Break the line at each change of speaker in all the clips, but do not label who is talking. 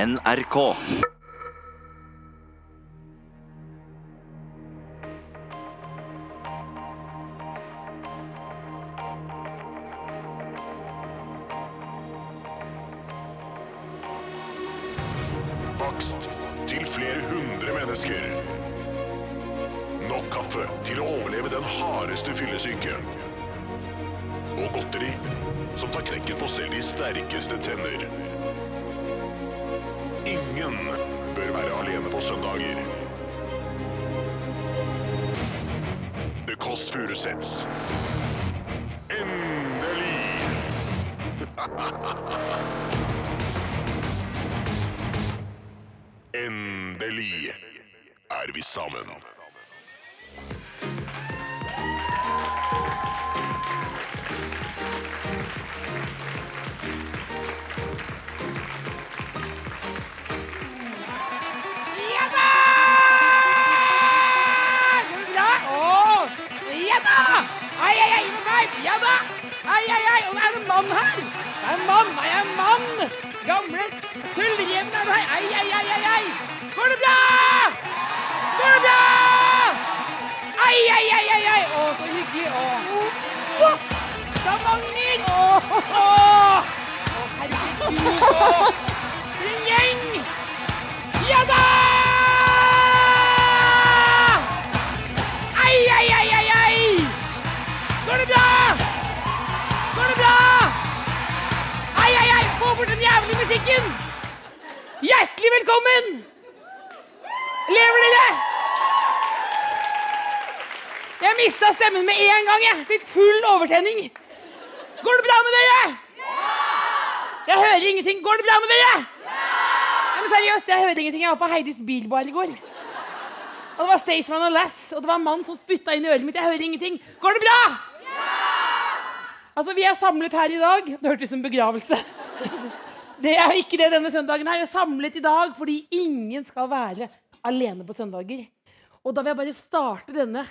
NRK.
Bakst til flere hundre mennesker. Nok kaffe til å overleve den hardeste fyllesyke. Og godteri som tar knekken på selv de sterkeste tenner. Ingen bør være alene på søndager. The Kåss Furuseths. Endelig! Endelig er vi sammen.
Ja da! Så bra! Å, ja da! Ai, ai, ai, for meg! Ja da! Ai, ai, ai, og det er en mann her! Det er en mann, det er en mann! Gamle tullhjem er her! Ai, ai, ai, ai, ai! Går det bra? Går det bra? Ai, ai, ai, ai, ai! Å, så hyggelig! Å, Stavanger! Å, ho, ho! Å, herregud! Å, for en gjeng! Ja da! Ai, ai, ai, ai, ai! Går det bra? Går det bra? Ai, ai, ai, få bort den jævlige musikken! Hjertelig velkommen! Lever dere? Jeg mista stemmen med en gang, jeg. Fikk full overtenning. Går det bra med dere? Jeg hører ingenting. Går det bra med dere? Nei, men seriøst, jeg hører ingenting. Jeg var på Heidis bilbar i går. Og det var Staysman og Lass, og det var en mann som spytta inn i øret mitt. Jeg hører ingenting. Går det bra? Altså, vi er samlet her i dag. Det hørtes ut som begravelse. Det er ikke det denne søndagen her. Vi er samlet i dag fordi ingen skal være alene på søndager. Og da vil jeg bare starte denne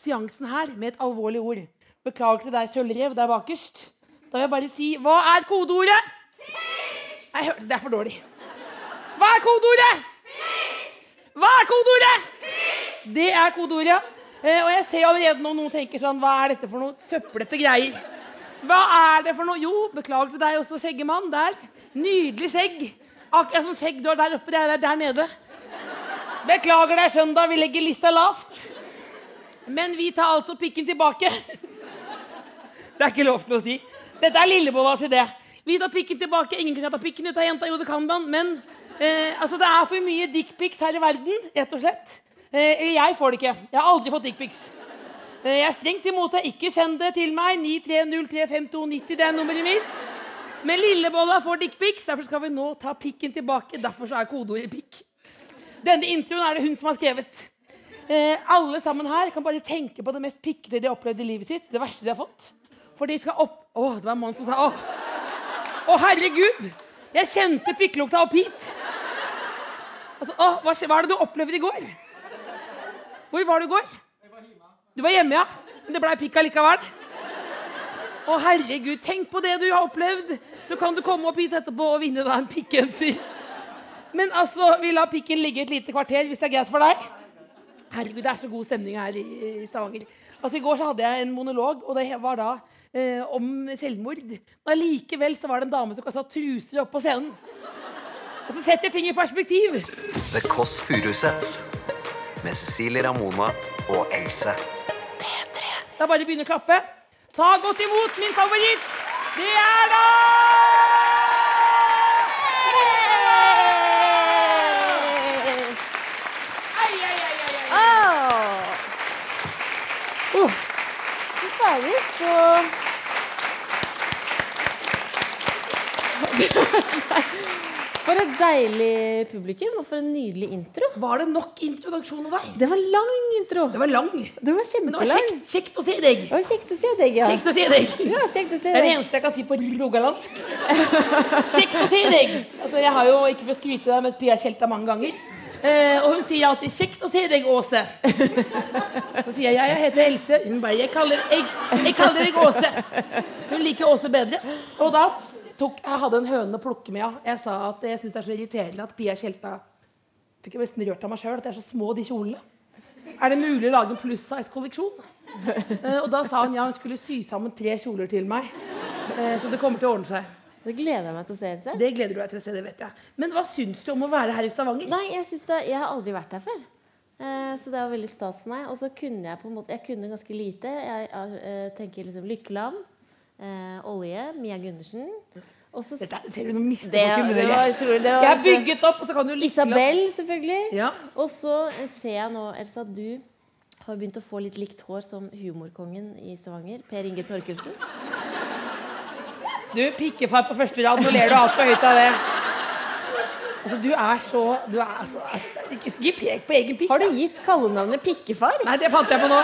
seansen her med et alvorlig ord. Beklager til deg, sølvrev, der bakerst. Da vil jeg bare si Hva er kodeordet? Nei, jeg hørte det er for dårlig. Hva er kodeordet? Hva er kodeordet? Det er kodeordet, ja. Eh, og jeg ser allerede nå noen tenker sånn Hva er dette for noe søplete greier? Hva er det for noe? Jo, beklager til deg også, skjeggemann. Der. Nydelig skjegg. Akkurat som skjegg du har der oppe. Det er der, der nede. Beklager deg, søndag. Vi legger lista lavt. Men vi tar altså pikken tilbake. Det er ikke lov til å si. Dette er Lillebollas idé. Vi tar pikken tilbake. Ingen kan ta pikken ut av jenta. Jo, det kan man, men eh, altså, det er for mye dickpics her i verden, rett og slett. Eh, eller jeg får det ikke. Jeg har aldri fått dickpics. Eh, jeg er strengt imot det. Ikke send det til meg. 93035290, det er nummeret mitt. Men Lillebolla får dickpics. Derfor skal vi nå ta pikken tilbake. Derfor så er kodeordet pikk. Denne introen er det hun som har skrevet. Eh, alle sammen her kan bare tenke på det mest pikkete de har opplevd i livet sitt. Det verste de har fått. For de skal opp... Å, det var en mann som sa Å, å herregud! Jeg kjente pikklukta opp hit. Altså, å, hva, skje- hva er det du opplevde i går? Hvor var du i går? Du var hjemme, ja. Men det blei pikk allikevel. Å, herregud. Tenk på det du har opplevd. Så kan du komme opp hit etterpå og vinne deg en pikkgenser. Men altså, vi lar pikken ligge et lite kvarter, hvis det er greit for deg? Herregud, det er så god stemning her i, i Stavanger. Altså, I går så hadde jeg en monolog, og det var da eh, om selvmord. Men allikevel så var det en dame som kasta truser opp på scenen. Og så setter ting i perspektiv.
The Kåss Furuseths med Cecilie Ramona og Else.
Da bare begynner å klappe. Ta godt imot min favoritt. Det er da Ai, ai, ai, ai, ai. Oh.
Fy fader, så For et deilig publikum, og for en nydelig intro.
Var det nok introduksjon av deg?
Det var lang intro.
Det var lang.
Det
Men
var
det var
kjempelang.
kjekt, kjekt å se deg.
Det var kjekt å se deg, ja.
Kjekt å se deg.
Ja, kjekt å se
Det er det
deg.
eneste jeg kan si på rogalandsk. Kjekt å se deg. Altså, jeg har jo ikke for å skryte deg, men Pia Tjelta mange ganger. Eh, og hun sier alltid 'kjekt å se deg, Åse'. Så sier jeg 'jeg heter Else'. Hun bare 'jeg kaller, jeg, jeg kaller deg Åse'. Hun liker Åse bedre. Og da tok, jeg hadde en høne å plukke med. Ja. Jeg sa at jeg syns det er så irriterende at Pia Tjelta Fikk jo nesten rørt av meg sjøl at de er så små, de kjolene. Er det mulig å lage en pluss-size-kolleksjon? Eh, Og da sa hun ja, hun skulle sy sammen tre kjoler til meg. Eh, Så det kommer til å ordne seg.
Det gleder jeg meg til å se. Else.
Det gleder du deg til å se, det vet jeg. Men hva syns du om å være her i Stavanger?
Nei, jeg, synes det, jeg har aldri vært her før. Eh, Så det var veldig stas for meg. Og så kunne jeg på en måte Jeg kunne ganske lite. Jeg eh, tenker liksom Lykkeland, eh, olje, Mia Gundersen. Og så
Dette, er- ser du, nå mister
Det-
du
det var-
humøret.
jeg tror det var-
Jeg er bygget opp, og så kan du lykke til.
Isabel, selvfølgelig.
Ja.
Og så eh, ser jeg nå, Elsa, at du har begynt å få litt likt hår som humorkongen i Stavanger, Per Inge Torkelsen.
Du, pikkefar på første rad, nå ler du altfor høyt av det. Altså, du er så Du er altså Ikke, ikke pek på egen pikk.
Har du
da.
gitt kallenavnet Pikkefar?
Nei, det fant jeg på nå.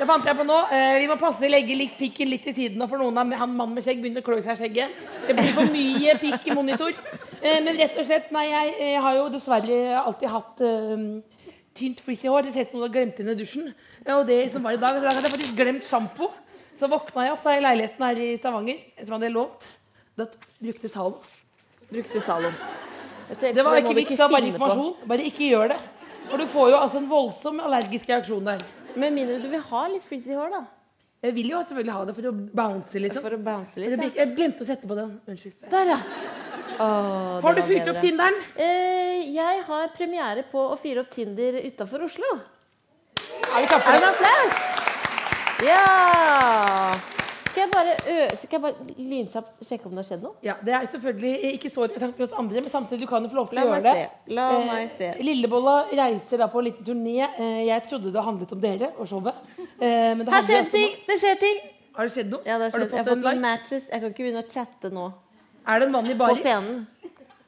Det fant jeg på nå. Eh, vi må passe legge litt pikken litt til siden, nå, for noen av han mannen med skjegg begynner å klø seg i skjegget. Det blir for mye pikk i monitor. Eh, men rett og slett, nei, jeg, eh, har jo dessverre alltid hatt eh, tynt frizzy hår. Det ser ut som noen har glemt det inn i dusjen. Eh, og det som var i dag, i dag hadde jeg faktisk glemt sjampo. Så våkna jeg opp da i leiligheten her i Stavanger, som jeg hadde lånt. Da t- brukte Salom. Brukte Salom. Det var ikke vits, det var bare informasjon. Bare ikke gjør det. For du får jo altså en voldsom allergisk reaksjon der.
Med mindre du vil ha litt frizzy hår, da.
Jeg vil jo selvfølgelig ha det for å bounce, liksom.
For å bounce
For det
litt.
blir-
Da.
jeg glemte å sette på den. Unnskyld.
Der, ja. Åh, det
Har du
var
fyrt
bedre.
opp Tinderen?
Eh, jeg har premiere på å fyre opp Tinder utafor Oslo.
Er vi klar for
En
det?
applaus! Ja! Skal jeg bare, ø skal jeg bare lynkjapt sjekke om det har skjedd noe?
Ja, det er selvfølgelig ikke så interessant for oss andre, men samtidig, du kan jo få lov til å
La
gjøre
meg
det.
se. La
Eh,
meg se.
Lillebolla reiser da på en liten turné. Eh, Jeg trodde det handlet om dere og showet. Eh, Men det
Her
handler
skjer
altså
det ting! Det skjer ting!
om- Har det skjedd noe?
Ja, det har skjedd. Jeg
Har
har
du fått
fått
en
noen
like?
matches. Jeg kan ikke begynne å chatte nå.
Er det en mann i
På
baris?
scenen.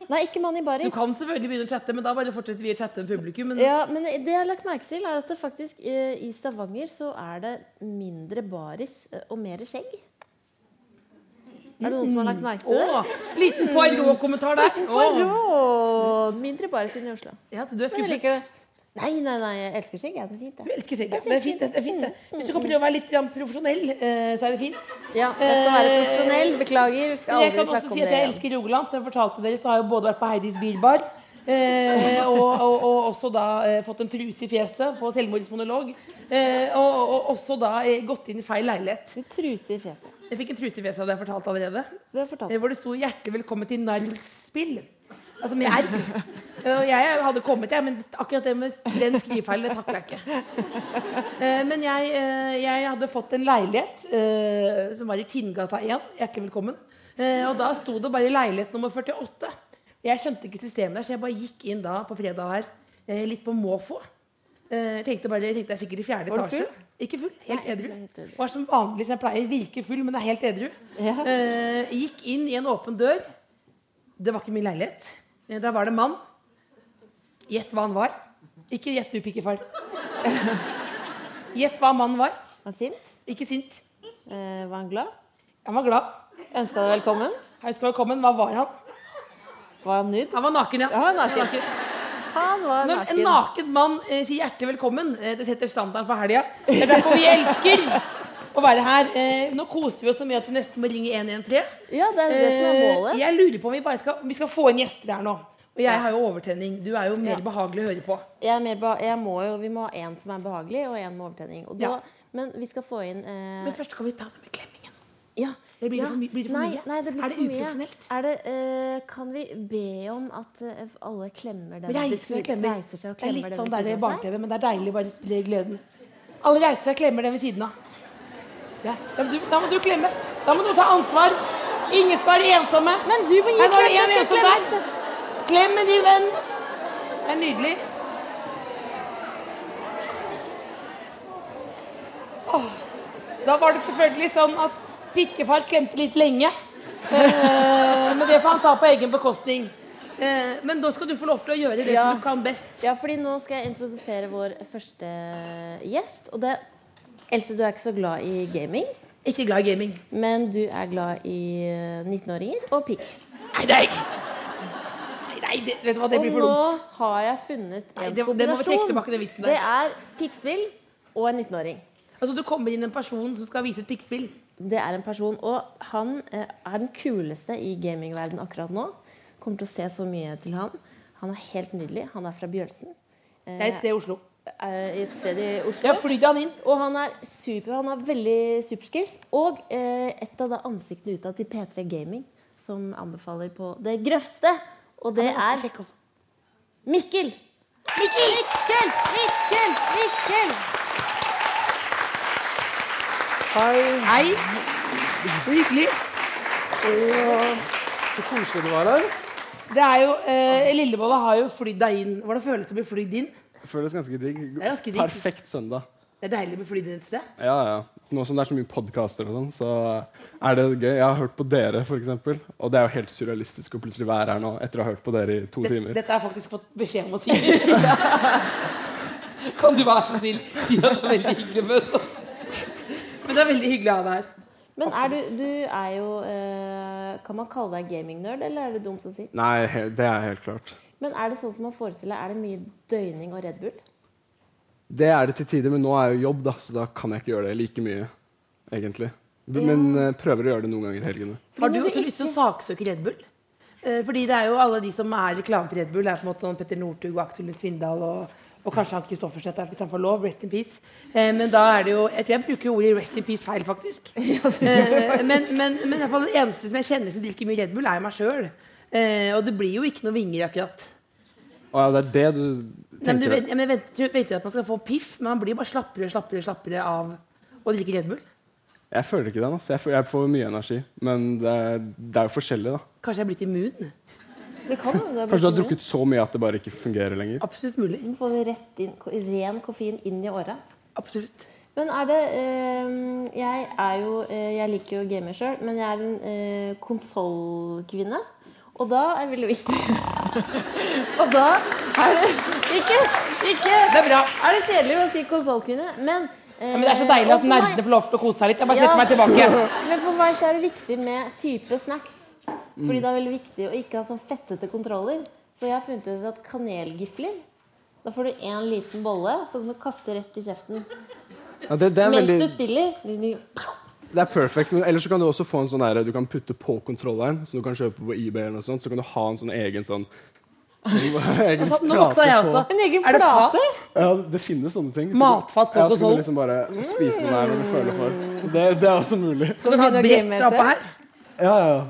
Nei, ikke mann i
Du
baris.
kan selvfølgelig begynne å chatte, men da bare fortsetter vi å chatte med publikum. Men
Ja, men det jeg har lagt merke til, er at det faktisk eh, i Stavanger så er det mindre baris eh, og mer skjegg. Er det noen som har lagt merke til det?
Åh, liten Poirot-kommentar der. Mm. Åh.
Poirot! Mindre baris enn i Oslo.
Ja, så du er
Men jeg
skuffet.
liker det. Nei, nei, nei, jeg elsker skjegg. jeg. Det er fint,
Du
det.
elsker skjegg. ja. Det er fint, det. det er fint det. Hvis du kan prøve å være litt grann profesjonell, eh, så er det fint.
Ja, jeg skal være
Eh,
profesjonell. Beklager. vi Skal
Jeg
aldri
kan også
snakke om
si
det
at jeg
igjen.
elsker Rogaland. Som jeg fortalte dere, så har jeg både vært på Heidis bilbar. Eh, og, og, og også da eh, fått en truse i fjeset på selvmordsmonolog. Eh, og, og også da eh, gått inn i feil leilighet.
Du truser i fjeset.
Jeg fikk en truse i fjeset, hadde jeg fortalt allerede.
Det har jeg fortalt.
Eh, hvor det sto 'Hjertelig velkommen til narrspill'. Altså med R. Eh, Og jeg hadde kommet, jeg, men akkurat det med den skrivefeilen det takla jeg ikke. Eh, Men jeg, eh, jeg hadde fått en leilighet eh, som var i Tinngata 1. Hjertelig velkommen. Eh, Og da sto det bare leilighet nummer 48. Jeg skjønte ikke systemet der, så jeg bare gikk inn da på fredag her, eh, litt på måfå. Eh, Jeg tenkte bare, jeg tenkte jeg er sikkert i fjerde
Var du
etasje.
full?
Ikke full, helt edru.
helt edru.
Var som vanlig som jeg pleier, virker full, men er helt edru.
Ja.
Eh, gikk inn i en åpen dør. Det var ikke min leilighet. Eh, Der var det en mann. Gjett hva han var. Ikke gjett du, pikkefar. Gjett hva mannen var.
Var han sint?
Ikke sint.
Eh, Var han glad?
Han var glad.
Ønska deg velkommen?
Hei skal velkommen. Hva var han?
Var han nude?
Han var naken, ja.
Ja, han var naken. Han var
Når en
naken.
naken mann eh, sier hjertelig velkommen, eh, det setter standarden for helga. Det er derfor vi elsker å være her. Eh, nå koser vi oss så mye at vi nesten må ringe 113.
Ja, det er jo det som er
Eh,
målet.
Jeg lurer på om vi bare skal, om vi skal få inn gjester her nå. Og jeg har jo overtenning. Du er jo mer
Ja.
behagelig å høre på.
Jeg er mer ba jeg må jo, vi må ha én som er behagelig, og én med overtenning. Og da,
Ja.
Men vi skal få inn eh,
Men først kan vi ta det med klemmingen.
ja,
Det blir det
ja.
for my- blir det for
nei,
mye?
Nei, det blir
Er det
for mye.
uprofesjonelt?
Er det, eh, kan vi be om at eh, alle klemmer den ved
Reiser seg og
siden-
klemmer.
reiser seg og
det er
klemmer
litt
den
sånn der i
ved siden av seg?
barne-TV, men det er deilig å bare spre gleden. Alle reiser seg og klemmer den ved siden av. Ja, ja, men du, da må du klemme. Da må du ta ansvar. Ingen skal være ensomme.
Men du må gi
Her var det
klem,
en
jeg skal
ensom
klemme.
der. Klem med din venn. Det er nydelig. Åh, Da var det selvfølgelig sånn at pikkefar klemte litt lenge. Eh, men det får han ta på egen bekostning. Eh, men da skal du få lov til å gjøre det
Ja.
som du kan best.
Ja, fordi nå skal jeg introdusere vår første eh, gjest. Og det Else, du er ikke så glad i gaming,
Ikke glad i gaming.
men du er glad i eh, 19-åringer og pikk.
Nei, det er ikke Nei, nei det, vet du hva, det
Og
blir for
nå
dumt.
har jeg funnet en
Nei, det- det må vi
kombinasjon.
trekke tilbake den vitsen der.
Det er pikkspill og en 19-åring.
Altså, Du kommer inn en person som skal vise et pikkspill.
Det er en person, og han eh, er den kuleste i gamingverden akkurat nå. Kommer til å se så mye til han. Han er helt nydelig. Han er fra Bjølsen. Eh,
Det er et sted i Oslo.
eh, i et sted i Oslo.
Jeg flydde han inn.
Og han er super, han har veldig superskills. Og eh, et av da ansiktene utad til P3 Gaming, som anbefaler på det grøvste. Og det
Han
er
ganske kjekk også.
Mikkel! Mikkel! Mikkel! Mikkel! Mikkel!
Hei,
Hei. Så hyggelig.
så koselig du var her.
Det er jo, eh, Lillebolla har jo flydd deg inn. Hvordan føles det å bli flydd inn?
Det føles ganske digg.
er ganske digg.
Perfekt søndag.
Det er deilig å bli flydd inn et sted.
Ja, ja. Nå som det er så mye podkaster og sånn, så er det gøy. Jeg har hørt på dere, f.eks. Og det er jo helt surrealistisk å plutselig være her nå etter å ha hørt på dere i to
Dette,
timer.
dette har jeg faktisk fått beskjed om å si. kan du være så snill si at det er veldig hyggelig å møte oss? Men det er veldig hyggelig å ha deg her.
Men er du, du er jo eh, Kan man kalle deg gamingnerd, eller er det dumt å si?
Nei, he- det er helt klart.
Men er det sånn som man forestiller, er det mye døgning og Red Bull?
Det er det til tider, men nå er jeg jo jobb, da, så da kan jeg ikke gjøre det like mye, egentlig. B- Men eh, prøver å gjøre det noen ganger i helgene.
Har du også lyst til å saksøke Red Bull? Eh, fordi det er jo alle de som er reklame for Red Bull. Det er på en måte sånn Petter Northug og Aksel Lund Svindal og, og kanskje han Kristoffersen etter hvert, hvis han får lov. Rest in peace. Eh, men da er det jo Jeg tror jeg bruker ordet 'rest in peace' feil, faktisk. Eh, men men, men i hvert fall den eneste som jeg kjenner som drikker mye Red Bull, er jo meg sjøl. Eh, og det blir jo ikke noe vinger, akkurat.
Å ja, det er det du
Nei, men du
tenker
vet, ja, men venter, du venter at man skal få piff, men man blir bare slappere og slappere, slappere av å drikke Red Bull.
Jeg føler ikke den. Altså. Jeg, får, jeg får mye energi. Men det er, det er jo forskjellig, da.
Kanskje jeg er blitt immun?
Det kan hende det er
Kanskje du har
blitt mye.
drukket så mye at det bare ikke fungerer lenger.
Absolutt mulig.
Du får rett inn, ko- ren koffein inn i åra.
Absolutt.
Men er det eh, Jeg er jo eh, Jeg liker jo å game sjøl, men jeg er en eh, konsollkvinne. Og da er det veldig viktig Og da er det Ikke! ikke
Det er bra.
Er det kjedelig å si konsollkvinne? Men,
Ja,
eh,
men Det er så deilig
og
at
for meg-
nerdene får lov til å kose seg litt. Jeg bare
Ja.
setter meg tilbake.
Men for meg så er det viktig med type snacks. Fordi det er veldig viktig å ikke ha sånn fettete kontroller. Så jeg har funnet ut at kanelgifler Da får du én liten bolle som du kaster rett i kjeften.
Ja, det, det er
Mens
veldig...
du spiller.
Det er perfekt, men ellers så kan du også få en sånn der, du kan putte på kontrolleren, som du kan kjøpe på eBay eller noe sånt, så kan du ha en sånn egen sånn egen
Altså, Nå våkna jeg
plate på-
også.
En egen
Er det fat?
plate?
Ja, det finnes sånne ting. Så
Matfat på
ja, så kan
konsoll.
du liksom bare spise den her når du føler for. Det, det er også mulig.
Skal du ha et
Begynne å
brett
game
oppå
med
her?
Ja, ja.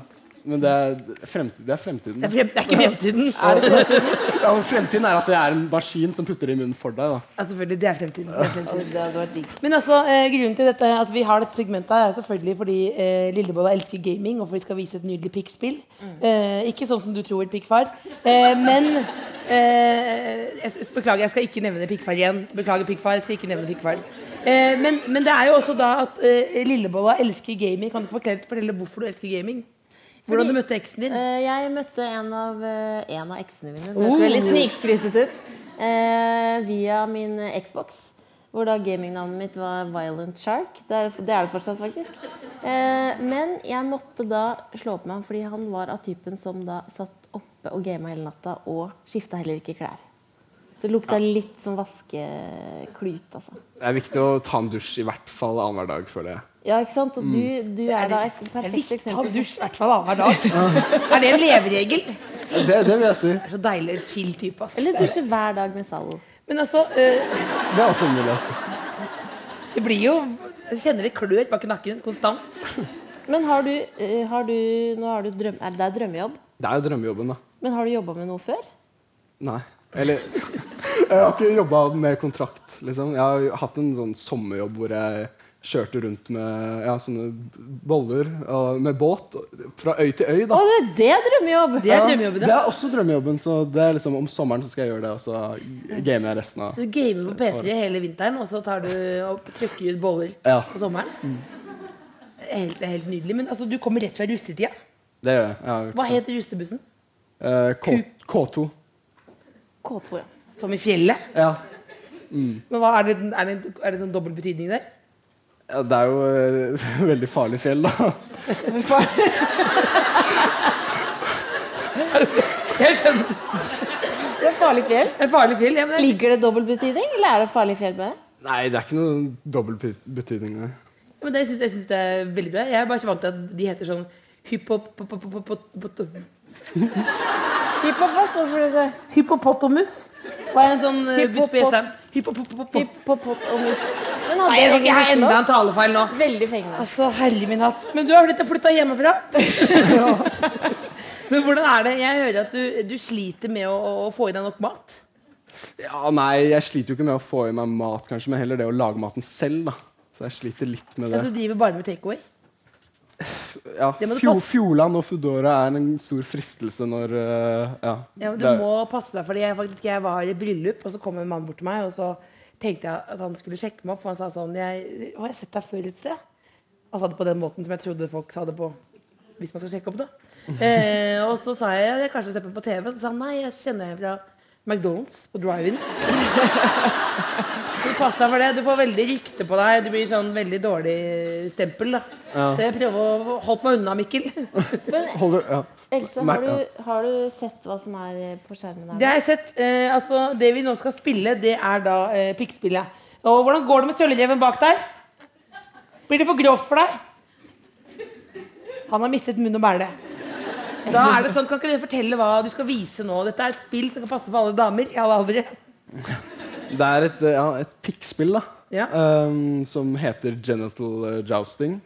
Men det er, fremtiden, det er fremtiden.
Det er, frem, det er ikke fremtiden.
Ja, men fremtiden er at det er en maskin som putter det i munnen for deg, da.
Ja, selvfølgelig, det er fremtiden. Det er fremtiden.
Det hadde vært digg.
Men altså, eh, grunnen til dette, at vi har dette segmentet, her, er selvfølgelig fordi eh, Lillebolla elsker gaming, og for vi skal vise et nydelig pikkspill.
Mm.
Eh, ikke sånn som du tror, pikkfar. Eh, men eh, jeg, s- Beklager, jeg skal ikke nevne pikkfar igjen. Beklager, pikkfar. Jeg skal ikke nevne pikkfar. Eh, men, men det er jo også da at eh, Lillebolla elsker gaming. Kan du ikke fortelle, fortelle hvorfor du elsker gaming? Hvordan du møtte eksen din?
Eh, Jeg møtte en av, eh, en av eksene mine. Det
Oh.
høres veldig snikskrytet ut. Eh, via min eh, Xbox. Hvor da gamingnavnet mitt var Violent Shark. Det er det, er det fortsatt, faktisk. Eh, men jeg måtte da slå opp med ham, fordi han var av typen som da satt oppe og gama hele natta og skifta heller ikke klær. Så det lukta litt som vaskeklut, altså.
Det er viktig å ta en dusj i hvert fall annenhver dag, føler jeg.
Ja, ikke sant? Og du, du er da et perfekt
Ta
eksempel.
dusj i hvert fall annenhver dag. er det en leveregel? Det
Det, det vil jeg si.
er så deilig chill type, ass.
Eller dusje hver dag med Zalo.
Men altså, eh,
Det er også en mulighet.
det blir jo Jeg kjenner det klør bak nakken konstant.
Men har du, eh, har du, nå har du drøm, er det, det er drømmejobb,
Det er jo drømmejobben, da.
men har du jobba med noe før?
Nei. Eller Jeg har ikke jobba med kontrakt, liksom. Jeg har jo hatt en sånn sommerjobb hvor jeg kjørte rundt med ja, sånne boller og, med båt fra øy til øy,
Å,
da.
det, det er drømmejobb!
Det er drømmejobben
Det
din.
er også drømmejobben, så det er liksom om sommeren så skal jeg gjøre det, og så gamer jeg resten av
Du gamer på P3 hele vinteren, og så tar du og trykker ut boller
Ja.
på sommeren. Det er Helt, det er helt nydelig. Men altså, du kommer rett fra russetida.
Det gjør jeg. jeg har gjort.
Hva het russebussen?
Eh, K, K2.
K2, ja.
Som i fjellet?
Ja.
Men hva, er, det, er, det, er det sånn dobbel betydning der?
ja. Det er jo eh, veldig farlig fjell, da.
Jeg skjønte.
Det er farlig fjell.
Det er farlig fjell. Ja, men det er
Ligger det dobbel betydning, eller er det farlig fjell med det?
Nei, det er ikke noen dobbel betydning. nei.
men det, jeg, syns, jeg syns det er veldig bra. Jeg er bare ikke vant til at de heter sånn hypopop-
Hippopotas, for det så-
Hypopotamus. Hva er en sånn eh,
Hypopot-
buspesa? Hypopopopop.
Hippopot og mus. Men hadde
Nei, jeg, jeg har enda en
Oslo?
talefeil nå.
Veldig fengende.
Altså, herre min hatt. Men du har flytta, flytta hjemmefra? Men hvordan er det? Jeg hører at du, du sliter med å, å få i deg nok mat.
Ja, nei, jeg sliter jo ikke med å få i meg mat, kanskje, men heller det å lage maten selv, da. Så jeg sliter litt med
Altså,
det.
du driver bare med takeaway.
Ja,
det må du
Fjo,
passe-
Fjordland og Foodora er en stor fristelse når eh, ja.
Ja, men du
det er-
må passe deg, fordi jeg, faktisk, jeg var i bryllup, og så kom en mann bort til meg, og så tenkte jeg at han skulle sjekke meg opp, for han sa sånn jeg, Har jeg sett deg før et sted? Han sa det på den måten som jeg trodde folk sa det på hvis man skal sjekke opp, da. Eh, og så sa jeg jeg kanskje har sett meg på TV, og så sa han nei, jeg kjenner deg fra McDonald's på drive-in. Så Pass deg for det. Du får veldig rykte på deg. Du blir sånn veldig dårlig stempel. da Så jeg prøver å holde meg unna, Mikkel.
Men
Holder, ja.
Else,
Nei,
har
ja.
du, har du sett hva som er eh, på skjermen
Det
der?
har jeg sett. Eh, altså, det vi nå skal spille, det er da eh, pikkspillet. Og hvordan går det med sølvreven bak der? Blir det for grovt for deg? Han har mistet munn og bæle. Da er det sånn, Kan ikke dere fortelle hva du skal vise nå? Dette er et spill som kan passe for alle damer i alle aldre.
Det er et, eh, ja, et pikkspill, da.
Ja.
ehm, som heter genital eh, jousting.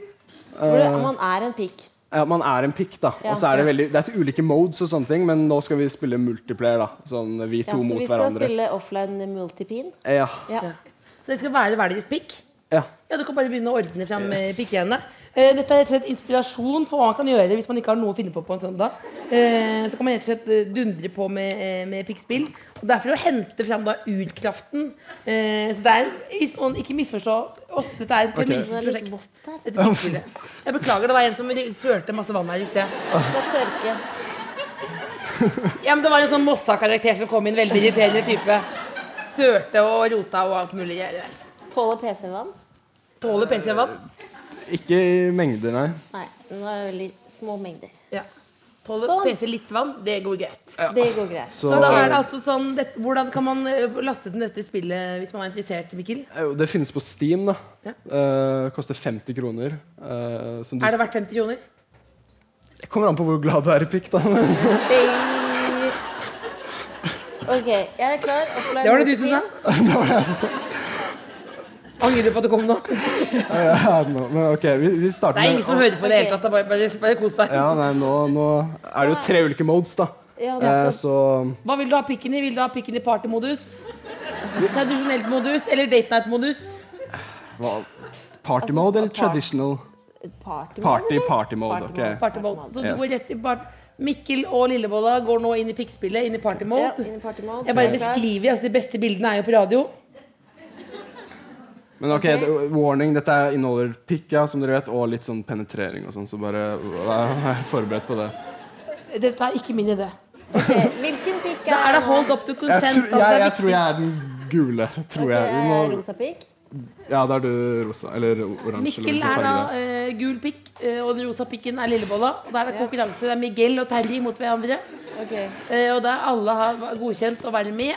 Hvor
Eh,
det- man er en pikk.
Ja, man er en pikk, da.
Ja.
Og så er det veldig Det er til ulike modes og sånne ting, men nå skal vi spille multiplayer, da. Sånn vi
Ja,
to
så
mot
vi skal
hverandre.
spille offline multipin.
Ja.
Ja.
Så det skal være hver deres pikk.
ja.
Ja, Du kan bare begynne å ordne fram yes.
Yes.
pikkene. Eh, dette er rett og slett inspirasjon for hva man kan gjøre hvis man ikke har noe å finne på på en søndag. Eh, så kan man rett og slett eh, dundre på med, eh, med pikkspill. Og det er for å hente fram da urkraften. Eh, så det er, hvis noen ikke misforstå oss, dette er et
Det er litt
premissprosjekt.
vått her.
Dette pikkspillet. Jeg beklager, det var en som ry- sølte masse vann her i sted.
Skal tørke.
Ja, men Det var en sånn Mossa-karakter som kom inn. Veldig irriterende type. Sølte og rota og alt mulig.
Tåler PC-vann?
Tåler PC-vann?
Eh,
Ikke i mengder, nei.
Nei, nå er det veldig små mengder.
Ja. Tåler
Sånn.
PC litt vann? Det går greit.
Det går greit.
Så,
Så da er det altså sånn dette, Hvordan kan man eh, få lastet ned dette spillet hvis man er interessert, Mikkel?
Eh, jo, det finnes på Steam, da.
Ja.
Eh, koster 50 kroner. eh, som du,
Er det verdt 50 kroner?
det kommer an på hvor glad du er i pikk, da. Men,
Bing. OK, jeg er klar. Offline
Det var det du som sa.
multipin.
det var det jeg som sa.
Angrer du på at du kom nå?
Ja, nå- Men ok, vi, vi starter
Det er ingen som hører på det i det hele
Ok.
tatt. da. Bare, bare, bare kos deg.
Ja, nei, nå, nå er det jo tre ulike modes, da.
Ja,
Eh,
nettopp.
så
Hva vil du ha pikken i? Vil du ha pikken i partymodus? Tradisjonelt modus eller date night-modus?
hva
Altså,
Party mode eller
par-
traditional?
Party,
Party,
eller?
party mode.
Party mode.
ok
Partymode. Så du
Yes.
går rett i part... Mikkel og Lillebolla går nå inn i pikkspillet, inn i
Ja,
partymode.
inn i party mode.
Jeg bare
Jeg er klar.
beskriver. altså De beste bildene er jo på radio.
Men ok, det- warning, dette er- inneholder pikk, ja, som dere vet, og litt sånn penetrering og sånn, så bare vær forberedt på det.
Dette er ikke min idé.
Ok, Hvilken pikk
Da
er
er det hold up to
Jeg,
consent.
tror-
altså, det
jeg,
er
jeg
viktig.
tror jeg er den gule, tror
Ok, jeg
jeg. Vi
er
må,
Eh, rosa pikk.
ja, da er du rosa, eller oransje.
Mikkel
eller hvilken
er da
farge det
eh, gul pikk, eh, og den rosa pikken er lillebolla. Og der er det konkurranse. Det er Miguel og Terje mot hverandre.
Ok,
Eh, og der alle har godkjent å være med.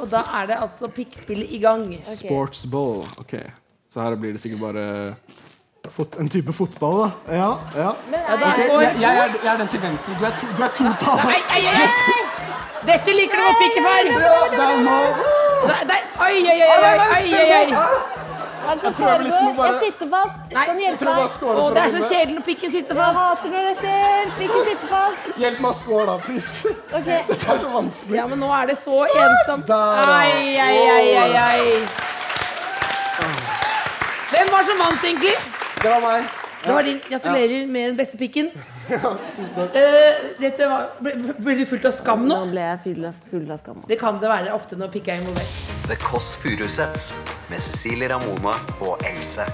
Og da er det altså pikkspillet i gang.
er. Sportsball, ok. Så her blir det sikkert bare fot, en type fotball, da. Ja, ja.
Ja, da
Ok,
går
jeg, jeg, er, jeg er den til venstre. Du er to, du er to
Ei,
tall.
ei, ei, ei! Dette liker du godt, pikkefar!
Ja, det er mål.
Der- der- Oi, oi, oi! oi, oi, oi, oi.
Er det som
Jeg prøver
foregår?
liksom å bare-
altså Jeg sitter fast.
Nei,
Kan du
Jeg tror
hjelpe
jeg bare
meg?
scorer
Å,
for
det er så
å vinne.
kjedelig når pikken sitter
Jeg
fast.
hater når det skjer. Pikken sitter fast.
Ah, Hjelp meg å score, da, please.
Ok,
Det er så vanskelig.
Ja, men nå er det så ensomt.
Der, da.
Ai, ai, ai, ai, ai. Hvem var som vant, egentlig?
Det var meg.
Det var din. Gratulerer med den beste pikken.
Tusen takk.
Eh, dette var, ble, ble du fullt av skam nå?
Nå ble jeg full av, full av skam.
Det kan det være ofte når pikk er involvert.
The Kåss Furuseths med Cecilie Ramona og Else.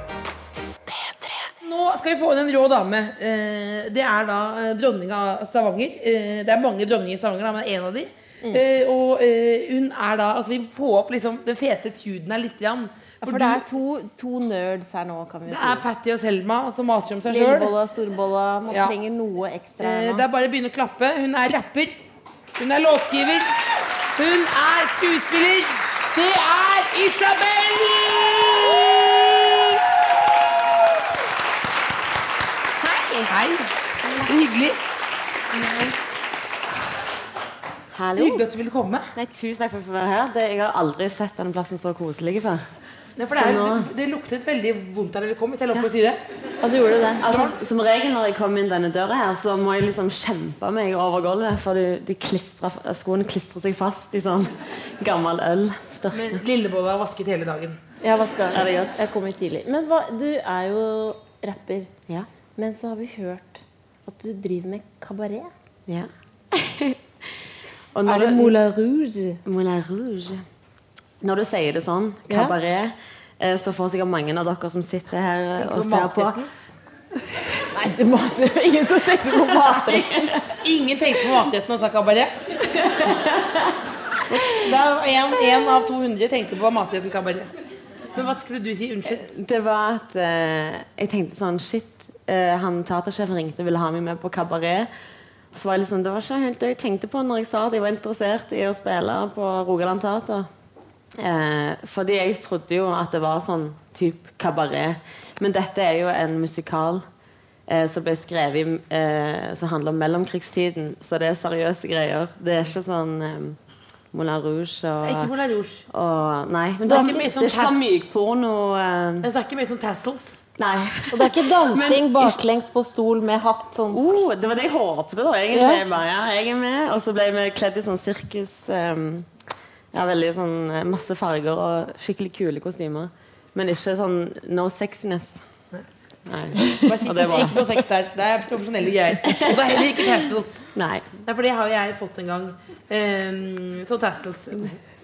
Nå skal vi få inn en rå dame. Eh, det er da eh, dronninga av Stavanger. Eh, det er mange dronninger i Stavanger, da, men én av de.
Mm.
Eh, og eh, hun er da Altså, vi får opp liksom den fete tuden her lite grann.
For det er to, to nerds her nå, kan vi
det
si.
er Patty og Selma som maser om seg sjøl.
Lillebolla, storbolla. Man
Ja.
trenger noe ekstra
Eh, Det
her nå.
er bare å begynne å klappe. Hun er rapper. Hun er låtskriver. Hun er skuespiller. Det er Isabel! Hei. Så hyggelig. Så
Hallo.
hyggelig at du ville komme.
Nei, tusen takk for at jeg fikk være her. Det, jeg har aldri sett denne plassen så koselig før.
Nei, for det, er,
Så nå-
det, det luktet veldig vondt her da vi kom, hvis jeg har lov til å si det.
Og du gjorde det.
Altså, som regel når jeg kommer inn denne døra her, så må jeg liksom kjempe meg over gulvet, for du, de klistrer, skoene klistrer seg fast i sånn gammel øl. Større.
Men Lillebolla har vasket hele dagen.
Jeg vaska
Er det godt?
Jeg kom hit tidlig. Men hva, du er jo rapper.
Ja.
Men så har vi hørt at du driver med kabaret.
ja. Og
Er
når
det
du-
Moulin Rouge?
Moulin Rouge. Når du sier det sånn,
Ja.
kabaret, eh, så får sikkert mange av dere som sitter her eh,
Tenker du
og ser på
matretten?
Nei, det var det var ingen som tenkte på matretten.
Ingen tenkte på matretten og snakka kabaret. Det er en, en av 200 tenkte på matretten kabaret. Men hva skulle du si? Unnskyld.
Det var at eh, jeg tenkte sånn Shit, eh, han teatersjefen ringte og ville ha meg med på kabaret. Så var jeg liksom, Det var ikke helt det jeg tenkte på når jeg sa at jeg var interessert i å spille på Rogaland Teater. Eh, fordi jeg trodde jo at det var sånn type kabaret. Men dette er jo en musikal eh, som ble skrevet i, eh, som handler om mellomkrigstiden. Så det er seriøse greier. Det er ikke sånn eh, Moulin Rouge og
Ikke Moulin Rouge.
og, nei,
det
men det
er
er
ikke mye
ikke,
sånn
det er ikke sånn mykporno. eh,
Jeg snakker mye sånn tassels.
Nei.
Og det er ikke dansing
Men-
baklengs på stol med hatt sånn.
Oh, det var det jeg håpte, da. egentlig.
Ja.
Jeg Bare, ja, jeg er med. Og så ble vi kledd i sånn sirkus ehm, ja, veldig sånn eh, Masse farger og skikkelig kule kostymer. Men ikke sånn no sexiness. Nei.
Bare si
Og
det
det var
Ikke noe sex der. Det er profesjonelle greier. Og det er heller ikke tassels.
Nei.
Nei, for det har jo jeg fått en gang. Ehm, så tassels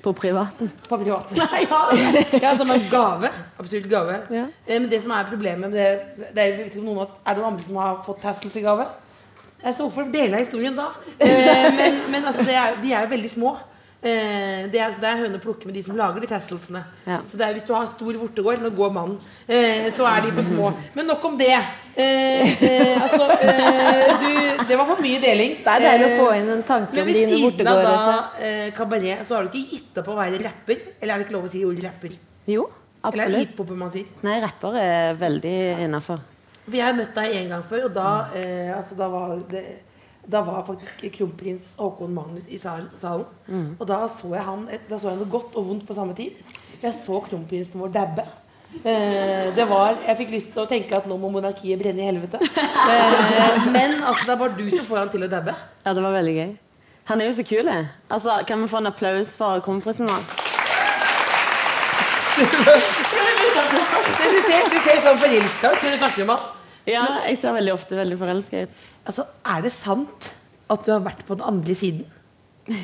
På privaten.
på privaten.
Nei, ja.
Ja, som en gave. Absolutt gave.
Ja.
Eh, Men det som er problemet med det, det er, jeg vet ikke om noen, har- er det noen andre som har fått tassels i gave? Jeg så hvorfor dele av historien da. Eh, men men altså, det er, de er jo veldig små. Eh, det, er, altså, det er høne å plukke med de som lager de tasselsene.
Ja.
Så det er, hvis du har stor vortegård, nå går mannen, eh, så er de for små. Men nok om det. Eh, eh, altså, eh, du, det var for mye deling.
Det er deilig å få
Eh,
inn en tanke
men
om
ved
dine
siden av
bortegårder.
da,
altså.
eh, kabaret, så har du ikke gitt opp å være rapper? Eller er det ikke lov å si ordet rapper?
Jo,
Eller er det
absolutt.
hiphoper man sier?
Nei, rapper er veldig innafor.
For jeg har møtt deg en gang før, og da, eh, altså, da var det da var faktisk kronprins Håkon Magnus i sal- salen.
Mm.
Og da så jeg han et- Da så jeg noe godt og vondt på samme tid. Jeg så kronprinsen vår dabbe. Eh, det var, jeg fikk lyst til å tenke at nå må monarkiet brenne i helvete. Eh, men altså, det er bare du som får han til å dabbe.
Ja, det var veldig gøy. Han er jo så kul. eh. Altså, kan vi få en applaus for kompisen vår?
Du ser, du ser sånn forelska ut når du snakker om han.
Ja, jeg ser veldig ofte veldig forelska ut.
Altså, Er det sant at du har vært på den andre siden?
Har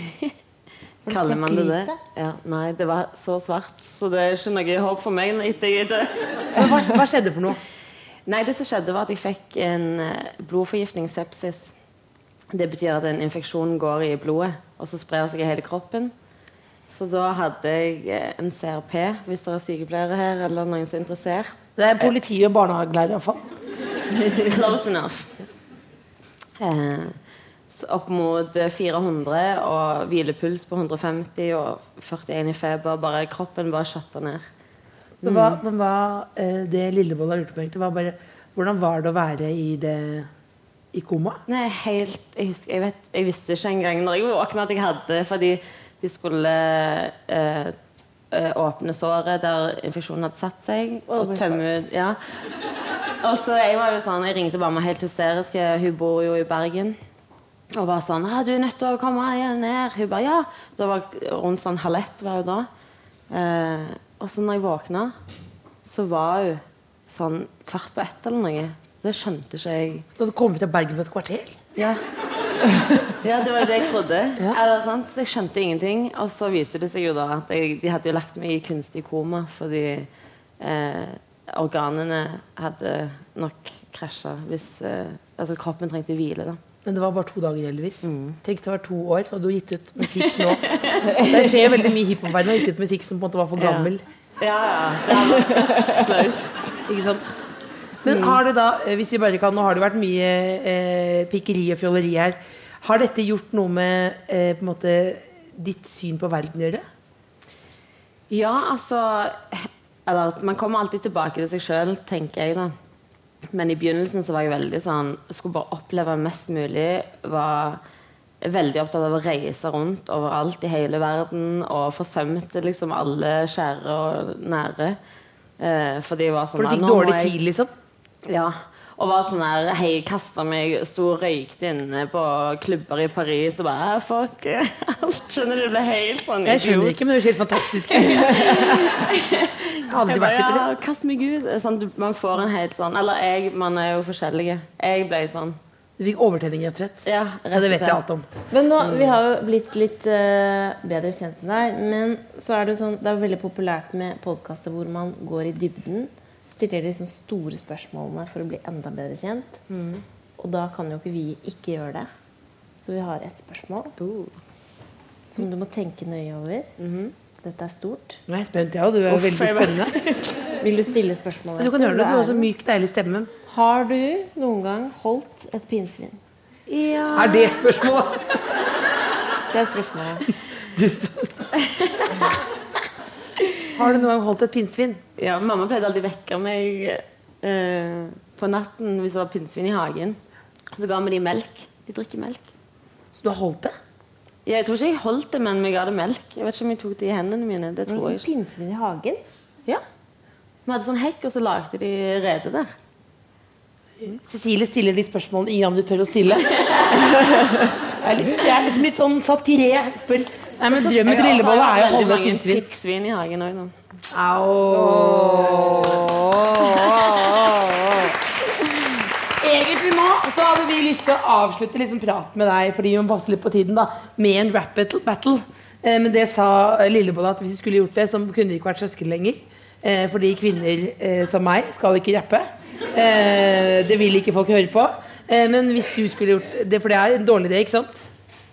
du
Kaller
sett
man det det?
lyset?
Ja, nei, det var så svart, så det er ikke noe håp for meg etter jeg er død.
Men Hva, hva skjedde for noe?
Nei, det som skjedde, var at jeg fikk en eh, blodforgiftning, sepsis. Det betyr at en infeksjon går i blodet, og så sprer seg i hele kroppen. Så da hadde jeg eh, en CRP, hvis det er sykepleiere her eller noen som er interessert.
Det er politi og barnehagelærer, iallfall.
Close enough. Eh, så opp mot eh, 400 og hvilepuls på 150 og 41 i feber. Bare kroppen bare skjøtter ned.
Men hva, men hva eh, det Lillebolla lurte på, egentlig, var bare hvordan var det å være i det i koma?
Nei, helt, jeg, husker, jeg, vet, jeg visste ikke engang når jeg våkna at jeg hadde fordi de skulle eh, eh, åpne såret der infeksjonen hadde satt seg, og tømme ut ja. Og så jeg var jo sånn, jeg ringte mamma helt hysterisk, eh, hun bor jo i Bergen. Og var sånn ah, 'Du er nødt til å komme igjen ned.' Hun bare 'Ja.' Da var rundt sånn halv ett var hun da. Eh, og så når jeg våkna, så var hun sånn kvart på ett eller noe. Det skjønte ikke jeg.
Så du kom fra Bergen på et kvarter?
Ja. ja, det var jo det jeg trodde. Eller, sant? Så jeg skjønte ingenting. Og så viste det seg jo da at jeg, de hadde jo lagt meg i kunstig koma fordi eh, organene hadde nok krasja hvis eh, Altså kroppen trengte hvile, da.
Men det var bare to dager, Elvis. Tenk, det var to år, så hadde du gitt ut musikk nå. Det skjer jo veldig mye i hiphopverdenen. og Gitt ut musikk som på en måte var for gammel.
Ja, ja. Det hadde vært flaut.
Ikke sant? Men har det da, eh, hvis vi bare kan, nå har det vært mye eh, pikkeri og fjolleri her. Har dette gjort noe med eh, på en måte ditt syn på verden å gjøre?
Ja, altså Eller at man kommer alltid tilbake til seg sjøl, tenker jeg, da. Men i begynnelsen så var jeg veldig sånn Skulle bare oppleve mest mulig. Var veldig opptatt av å reise rundt overalt i hele verden. Og forsømte liksom alle kjære og nære. Eh, fordi jeg var sånn
For du
«Nei,
fikk
nå må
dårlig
jeg-
tid, liksom?
ja. Og var sånn her Hei, kasta meg. Sto og røykte inne på klubber i Paris og bare «Ah, Fuck alt. Skjønner du? Ble helt sånn
Jeg skjønner ikke, men det er helt fantastisk. Jeg har aldri
Jeg bare,
vært i
ja,
Paris.
kast meg ut. Sånn, du- man får en helt sånn Eller jeg, man er jo forskjellige. Jeg ble sånn.
Du fikk overtenning, rett og slett.
Ja,
Ja, det vet jeg alt om.
Men nå, Vi har jo blitt litt eh, bedre kjent med deg. Men så er det jo sånn, det er jo veldig populært med podkaster hvor man går i dybden. Stiller de liksom store spørsmålene for å bli enda bedre kjent.
Mm.
Og da kan jo ikke vi ikke gjøre det. Så vi har et spørsmål
Oh.
som du må tenke nøye over.
Mm-hmm.
Dette er stort.
Nå er jeg spent, jeg òg. Du er jo veldig spennende.
Vil du stille spørsmålet?
Du kan
Else?
høre det. Du har så
er-
myk, deilig stemme.
Har du noen gang holdt et pinnsvin?
Ja.
Er det et spørsmål?
Det er spørsmålet.
Du så- Har du noen gang holdt et pinnsvin?
ja. Mamma pleide alltid å vekke meg eh, på natten hvis det var pinnsvin i hagen. Så ga vi de melk. De drikker melk.
Så du har holdt det?
Ja, Jeg tror ikke jeg holdt det, men jeg ga det melk. Jeg vet ikke om jeg tok det i hendene mine. Det
Var det
tror jeg
sånn
ikke.
pinnsvin i hagen?
Ja. Vi hadde sånn hekk, og så lagde de rede der.
Cecilie stiller de spørsmålene ingen andre tør å stille. Jeg er liksom, jeg er liksom litt sånn satiré. Spør- Nei, men drømmen til Lillebolla er jo å holde et pinnsvin.
Fikk svin i hagen òg, da.
Egentlig nå så hadde vi lyst til å avslutte liksom praten med deg fordi vi må passe litt på tiden da, med en rap battle. battle. Eh, men det sa eh, Lillebolla at hvis vi skulle gjort det, så kunne vi ikke vært søsken lenger. Eh, fordi kvinner eh, som meg skal ikke rappe. Eh, det vil ikke folk høre på. Eh, men hvis du skulle gjort det, for det er en dårlig idé, ikke sant?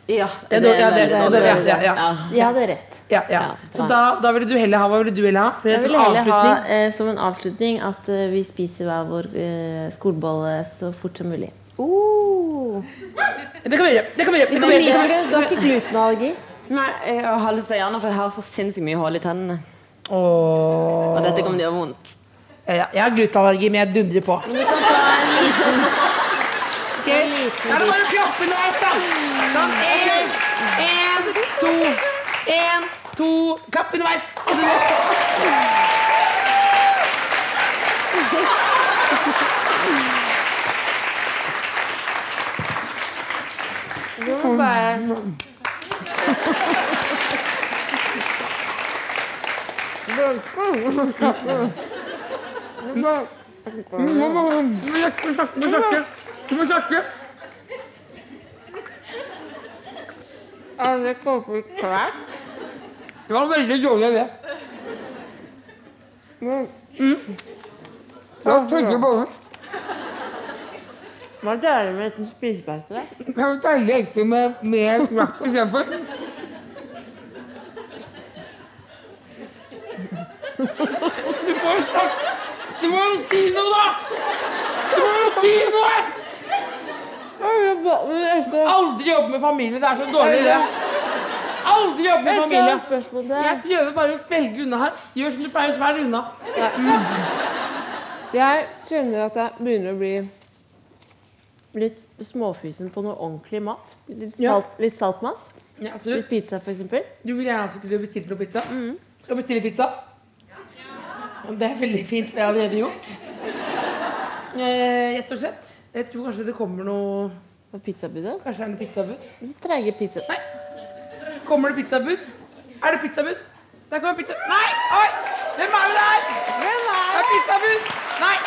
Ja,
Ja, det- ja, det- det-
veldig
ja,
dårlig.
ja, ja.
Jeg hadde rett.
Ja, ja. Så da, da ville du heller ha Hva ville du heller ha? For
Jeg
en
vil
sånn
heller ha
avslutning.
eh, som en avslutning at eh, vi spiser hver vår eh, skolebolle så fort som mulig.
Oh. Det kan vi gjøre. Det kan vi gjøre. Det
Du
kan vi gjøre. Det kan
liker
vi
det,
gjøre.
du har ikke glutenallergi.
Nei, jeg har lyst til å gjøre noe, for jeg har så sinnssykt mye hull i tennene.
Åh.
Og dette kommer til å gjøre vondt.
Ja, ja. Jeg har glutenallergi, men jeg dundrer på.
Men vi kan ta en
Ok?
liten, en
Da er
liten
det
bit.
bare å klappe løs, da. Sånn. Én, én, to. Én, to. Klapp underveis.
Nå må bare-
Du må snakke. Du må snakke. Du må snakke.
Alle kåper klær.
Det var en veldig dårlig idé. Det var tørre boller.
Hva dører med uten spisepause?
Jeg har deilig egentlig med mer rapp istedenfor. Du må jo snakke Du må jo si noe, da! Du må jo si noe! Aldri jobbe med familie. Det er så dårlig, det. Aldri jobbe med familie. Jeg prøver bare å svelge unna her. Gjør som du pleier, svelg unna.
Jeg kjenner at jeg begynner å bli litt småfysen på noe ordentlig mat. Litt,
Ja.
salt, litt saltmat.
Ja,
Litt
absolutt.
pizza, for eksempel.
Du ville gjerne at du skulle bestilt noe pizza? Skal du bestille pizza? Det er veldig fint. Det har jeg allerede gjort. Eh, Rett og slett. Jeg tror kanskje det kommer noe
Og pizzabudet.
Kanskje det er noe pizzabud?
Så treige pizza.
Kommer det pizzabud? Er det pizzabud? Der kommer pizza... Nei! Oi! Hvem er det der? Hvem er det? Det er pizzabud! Nei!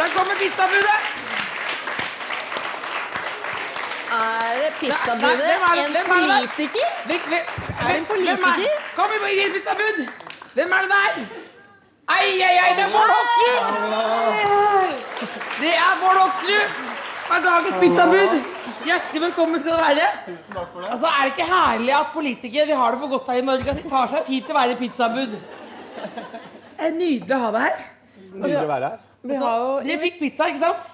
Der kommer pizzabudet!
Er det
Nei, nei, hvem er det?
en
Hvem er det?
politiker?
Hvem, hvem,
Er det en
hvem er-
politiker?
Kom i i pizzabud! Hvem er det der? Ei, ei, ei, det er Bård Hoksrud! Det er Bård Hoksrud! Er dagens pizzabud. Hjertelig velkommen skal dere være. Altså, er det ikke herlig at politikere vi har det for godt her i Norge, at de tar seg tid til å være pizzabud? Det er nydelig å ha deg her.
Nydelig å være her.
Vi har jo
Dere fikk pizza, ikke sant?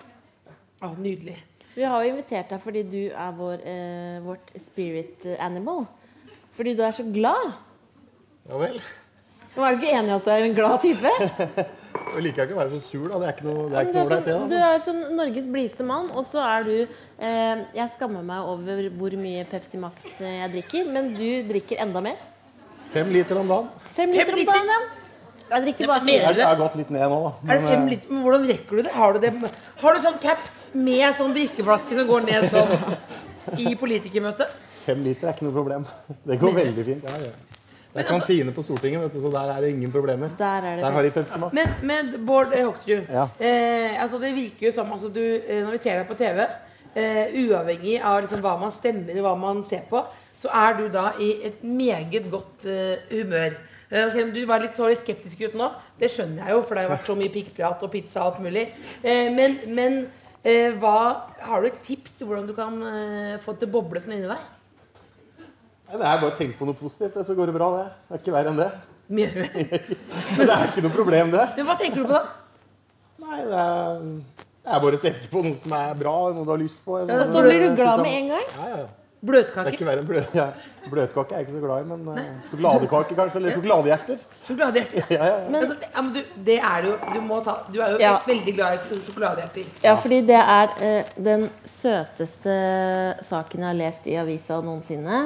Å, nydelig.
Vi har jo invitert deg fordi du er vår, eh, vårt spirit animal. Fordi du er så glad.
Ja vel.
Nå er du ikke enig i at du er en glad type?
Jeg liker ikke å være så sur, da. Det er ikke noe det
Ja,
er
men
ikke
Du er,
noe ålreit,
sånn, du
det. da.
er sånn Norges blideste mann, og så er du eh, Jeg skammer meg over hvor mye Pepsi Max eh, jeg drikker, men du drikker enda mer.
Fem liter om dagen.
Fem liter om
liter?
dagen, ja. Jeg drikker bare sånn.
mer.
fire.
Jeg jeg har gått litt ned nå, da.
Er det fem
eh,
liter? Men hvordan rekker du det? Har du, det? har du sånn caps med sånn drikkeflaske som går ned sånn i politikermøtet?
fem liter er ikke noe problem. Det går veldig fint. Ja, ja. Det er kantine på Stortinget, vet du, så der er det ingen problemer.
altså- Der er det
har de Pepsi Max.
Men, men Bård eh, Hoksrud,
Ja.
eh, altså det virker jo som altså du, eh, når vi ser deg på TV, eh, uavhengig av liksom hva man stemmer og hva man ser på, så er du da i et meget godt eh, humør. Eh, selv om du var litt så litt skeptisk ut nå, det skjønner jeg jo, for det har jo vært så mye pikkprat og pizza og alt mulig. Eh, men men eh, hva, har du et tips til hvordan du kan eh, få det til å boble sånn inni deg?
Nei, Det er bare å tenke på noe positivt, det, så går det bra, det. Det er ikke verre enn det.
Mener du?
Men det er ikke noe problem, det.
Men hva tenker du på da?
Nei, det er, det er bare å tenke på noe som er bra, noe du har lyst på. eller
Ja,
noe
så
Så
som-
blir du glad med en gang.
Ja, ja, ja. Det er
Bløtkaker?
ikke verre enn blø ja. bløtkake. er jeg ikke så glad i, men eh, sjokoladekake kanskje, eller sjokoladehjerter.
Sjokoladehjerte?
Ja, ja, ja.
altså, det, ja, men du, det er du, du må ta Du er jo
Ja.
veldig glad i sjokoladehjerter.
Ja, fordi det er eh, den søteste saken jeg har lest i avisa noensinne.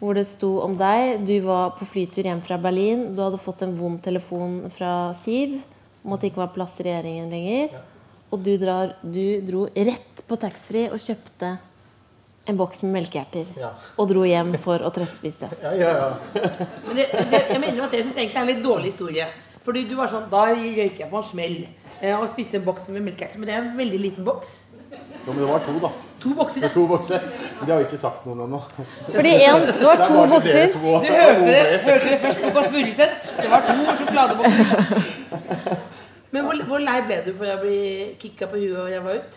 Hvor det sto om deg. Du var på flytur hjem fra Berlin. Du hadde fått en vond telefon fra Siv om at det ikke var plass til regjeringen lenger. Og du, drar, du dro rett på taxfree og kjøpte en boks med melkehjerter.
Ja.
Og dro hjem for å trøstespise.
ja, ja, ja.
Men det, det, jeg mener at det synes jeg egentlig er en litt dårlig historie. Fordi du var sånn Da røyker jeg på en smell eh, og spiste en boks med melkeerter. Men det er en veldig liten boks.
Jo, men det var to, da.
To bokser.
Det var to bokser. Men De har jo ikke sagt noe ennå.
Fordi en, det var to bokser.
Du hørte det, hørte det først på Kåss Furuseth. Det var to sjokoladebokser. Men hvor, hvor lei ble du for å bli kicka på huet og ræva ut?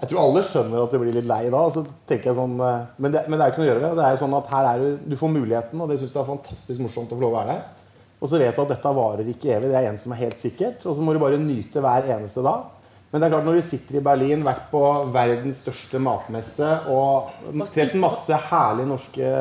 Jeg tror alle skjønner at det blir litt lei da. og Så tenker jeg sånn, eh, men, det, men det er jo ikke noe å gjøre. Det er jo sånn at her er du, du får muligheten, og det syns jeg er fantastisk morsomt å få lov å være her. Og så vet du at dette varer ikke evig. Det er en som er helt sikkert. Og så må du bare nyte hver eneste dag. Men det er klart når du sitter i Berlin, vært på verdens største matmesse og treffet masse herlige norske,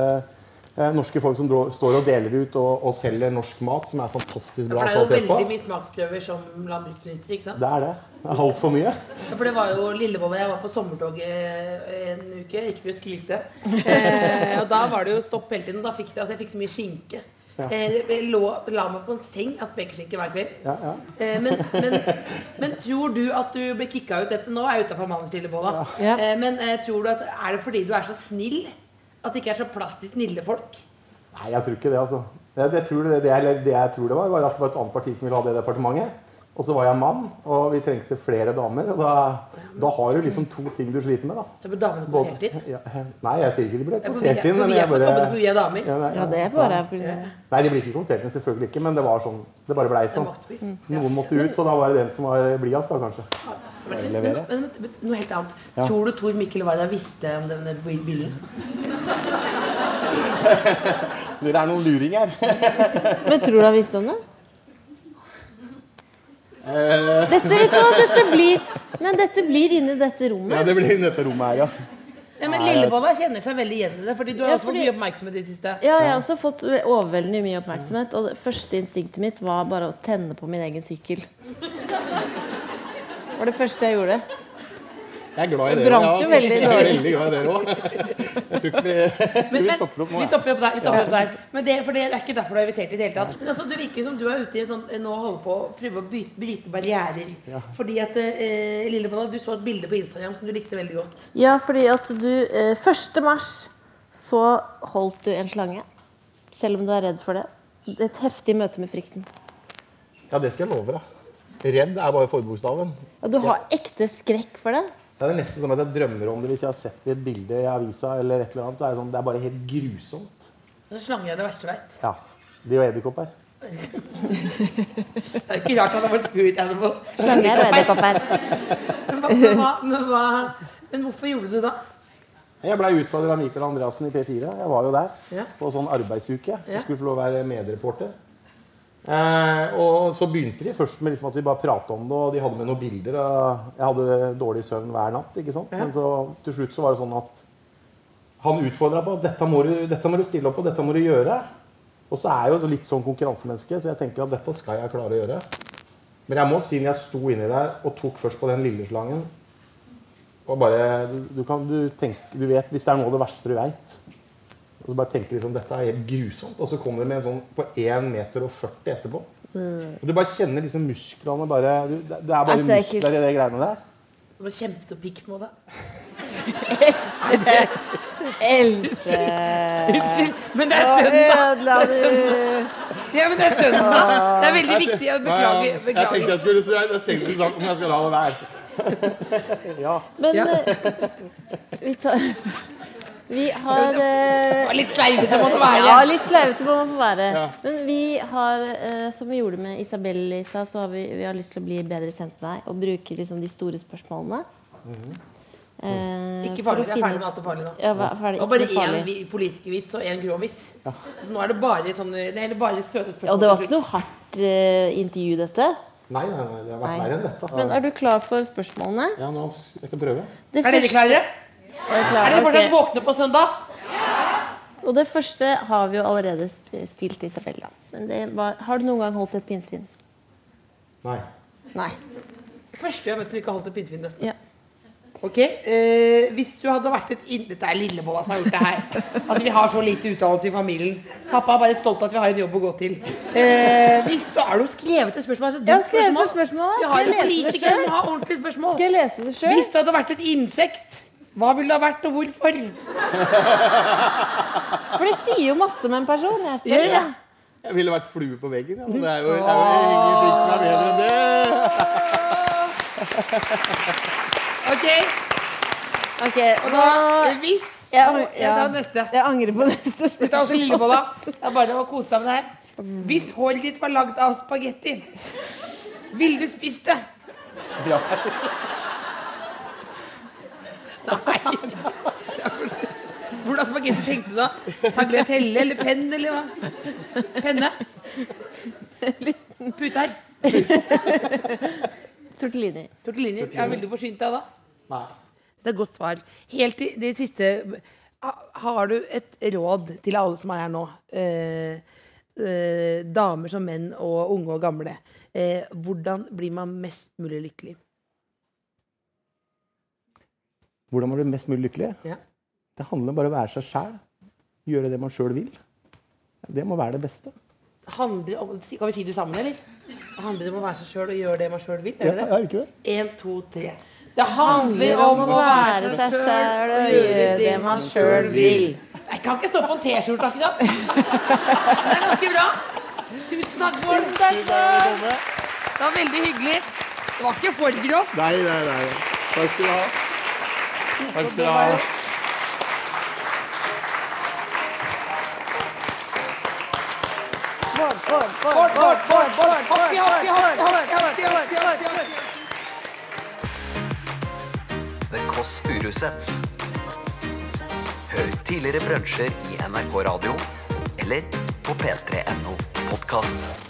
eh, norske folk som dro, står og deler ut og, og selger norsk mat, som er fantastisk
For
bra
det er jo
kvalitet
veldig
på.
mye smaksprøver som landbruksminister, ikke sant?
Det er det. Det er altfor mye.
Ja, For det var jo Lillevold og jeg var på sommertoget eh, en uke. Ikke for å skryte. Eh, og da var det jo stopp hele tiden. Da fikk det, altså, jeg fikk så mye skinke. Eh, jeg lå, la meg på en seng av spekeskinke hver kveld.
Ja, ja.
Eh, men, men, men tror du at du ble kicka ut dette? Nå er jeg utafor mannens lille bolla.
Ja.
Eh, men eh, tror du at er det fordi du er så snill? At det ikke er så plass til snille folk?
Nei, jeg tror ikke det, altså. Det, det, tror, det, det, eller det jeg tror det var, var at det var et annet parti som ville ha det departementet. Og så var jeg mann, og vi trengte flere damer. Og da, da har du liksom to ting du sliter med, da.
Så ble damene kvotert inn.
ja, eh, nei, jeg sier ikke de ble
Ja, for vi er-
kvotert inn.
for
men
vi
jeg
er for-
bare-
for vi er damer.
Ja, nei,
Ja, det er bare på grunn av det.
Nei, de blir ikke kvotert inn, selvfølgelig ikke. Men det var sånn. Det bare blei sånn.
maktspill. Mm.
Noen måtte ut, og da var det den som var blidest, da kanskje.
Men,
Jeg
men,
leverer.
men, men noe helt annet.
Ja.
Tror du Tor Mikkel Wara visste om denne bil- bilen?
Dere er noen luringer.
Men tror du han visste om det? Dette, vet du hva, dette blir Men dette blir inni dette
Ja,
rommet.
det blir i dette rommet her, ja.
Ja, men Lillebolla kjenner seg veldig igjen i det, fordi du har
Ja,
også fått
fordi-
mye oppmerksomhet i det siste.
Ja, jeg har også fått overveldende mye oppmerksomhet. Og det første instinktet mitt var bare å tenne på min egen sykkel. Det var det første jeg gjorde.
Jeg er glad i
Det
dere.
brant jo
altså.
veldig
Jeg er
dårlig.
veldig glad i dere òg. Jeg tror ikke vi, jeg tror
Men,
vi
men,
stopper opp nå.
vi
jeg.
stopper opp der. Vi stopper opp der. Men det, for det er ikke derfor du er invitert i det hele tatt. Men altså, det virker som du er ute i en sånn, nå holder på å prøve å bryte, bryte barrierer. Fordi at eh, Lillebolla, du så et bilde på Instagram som du likte veldig godt.
Ja, fordi at du eh, 1. mars så holdt du en slange. Selv om du er redd for det. Et heftig møte med frykten.
Ja, det skal jeg love deg. Redd er bare forbokstaven.
Ja, du har ekte skrekk for det.
Det er nesten som at jeg drømmer om det hvis jeg har sett et bilde i avisa. eller et eller annet, så er Det sånn, det er bare helt grusomt.
Altså, slanger er det verste jeg vet.
Ja, De og edderkopper.
Det er ikke rart han har vært spirit animal.
Slanger og edderkopper.
Men, hva- men, hva, men, hva, men hvorfor gjorde du det da?
Jeg blei utfordra av Michael Andreassen i P4. Jeg var jo der
Ja.
på sånn arbeidsuke.
Ja.
Jeg skulle få lov å være medreporter. Eh, og så begynte de først med liksom at vi bare prata om det, og de hadde med noen bilder. Og jeg hadde dårlig søvn hver natt. ikke sant? Men så til slutt så var det sånn at han utfordra på at dette må, du, dette må du stille opp på, dette må du gjøre. Og så er jeg jo litt sånn konkurransemenneske, så jeg tenker at dette skal jeg klare å gjøre. Men jeg må si når jeg sto inni der og tok først på den lille slangen og bare, du- du, kan, du, tenk, du vet, Hvis det er noe av det verste du veit Og så bare tenker liksom, dette er helt grusomt Og så kommer det med en sånn på 1,40 meter etterpå Og du bare kjenner liksom musklene bare, du, Det det er
Mm.
bare
Altså, det er ikke-
muskler i det greiene der
Det var kjempestor pikk på det.
Else!
Unnskyld, men det er
Nå
søndag.
ødela du
Ja, men det er søndag. Det er veldig viktig. Jeg
Ja,
beklager.
ja. Jeg tenkte
beklager.
jeg skulle si Jeg tenkte ikke om jeg skal la det være
Men
Ja.
eh, vi tar Vi har
Det
eh,
var litt sleivete måtte
Ja,
være.
litt sleivete må man få være. Men vi har, eh, som vi gjorde med Isabel i stad, så har vi, vi har lyst til å bli bedre kjent med deg og bruke liksom de store spørsmålene. Eh,
Mhm. Ikke
for å
farlig. Jeg er
finne
ferdig med
ut-
alt det farlige nå.
Ja, hva- ferdig.
Og bare
Ikke farlig.
én vi- politikervits og én gråviss. Så nå er det bare sånne Nei, det er bare søte spørsmål.
Ja, det var
til
ikke noe hardt eh, intervju, dette.
Nei, nei, nei, det har vært
Nei.
verre enn dette
Men er du klar for spørsmålene?
Ja, nå, jeg kan prøve
Det
slutt. Er dere
første-
klare?
Er dere klare?
Er dere fortsatt
Ok.
våkne på søndag?
Og det første har vi jo allerede sp- stilt Isabel, da. Men det var, har du noen gang holdt et pinnsvin?
Nei
Nei.
Første jeg møtte som ikke holdt et pinnsvin, nesten.
Ja.
Ok, eh, Hvis du hadde vært et inn... Dette er Lillebolla som har gjort det her. Altså, Vi har så lite utdannelse i familien. Pappa er bare stolt av at vi har en jobb å gå til. Eh, hvis du, har du skrevet et spørsmål? Altså,
Jeg har skrevet et spørsmål, da.
Vi har
Skal jeg
jo
lese det
politikere
selv?
som har ordentlige spørsmål.
Skal jeg lese det sjøl?
Hvis du hadde vært et insekt, hva ville det ha vært, og hvorfor?
For det sier jo masse om en person. Jeg spør,
Ja, ja.
da.
Jeg ville vært flue på veggen, ja. men det er jo, det er jo ingenting som er bedre enn det.
Ok,
Ok,
og
nå
da Hvis
Jeg,
og- Jeg tar neste.
jeg angrer på neste
Dette er også
spørsmål.
Lillebolla. Det er bare å kose seg med det her. Hvis håret ditt var lagd av spagetti, ville du spist det?
Ja.
Nei. Hvordan spagetti tenkte du da? Tagliatelle eller penn eller hva? Penne? Pute her.
Tortellini.
Tortellini. Jeg er veldig forsynt deg da.
Nei.
Det er et godt svar. Helt til det siste ha- Har du et råd til alle som er her nå? Eh, eh, damer som menn og unge og gamle. Eh, hvordan blir man mest mulig lykkelig?
Hvordan man blir mest mulig lykkelig?
Ja.
Det handler om bare å være seg sjæl. Gjøre det man sjøl vil. Det må være det beste.
Handler om, kan vi si det sammen, eller? Det handler om å være seg sjøl og gjøre det man sjøl vil?
Ja,
Er det
er
det?
det ikke det?
En, to, tre. Det handler om å være seg sjøl og gjøre det man sjøl vil. Jeg kan ikke stå på en T-skjorte akkurat. Det er ganske bra. Tusen takk, Bård. Det var veldig hyggelig. Det var ikke for grovt.
Nei, nei, nei. Takk skal du ha. Takk skal du ha.
Hoppi, hoppi, hoppi, hoppi, hoppi, hoppi, hoppi, hoppi.
The Kåss Furuseths. Hør tidligere brunsjer i NRK Radio eller på p3.no podkast.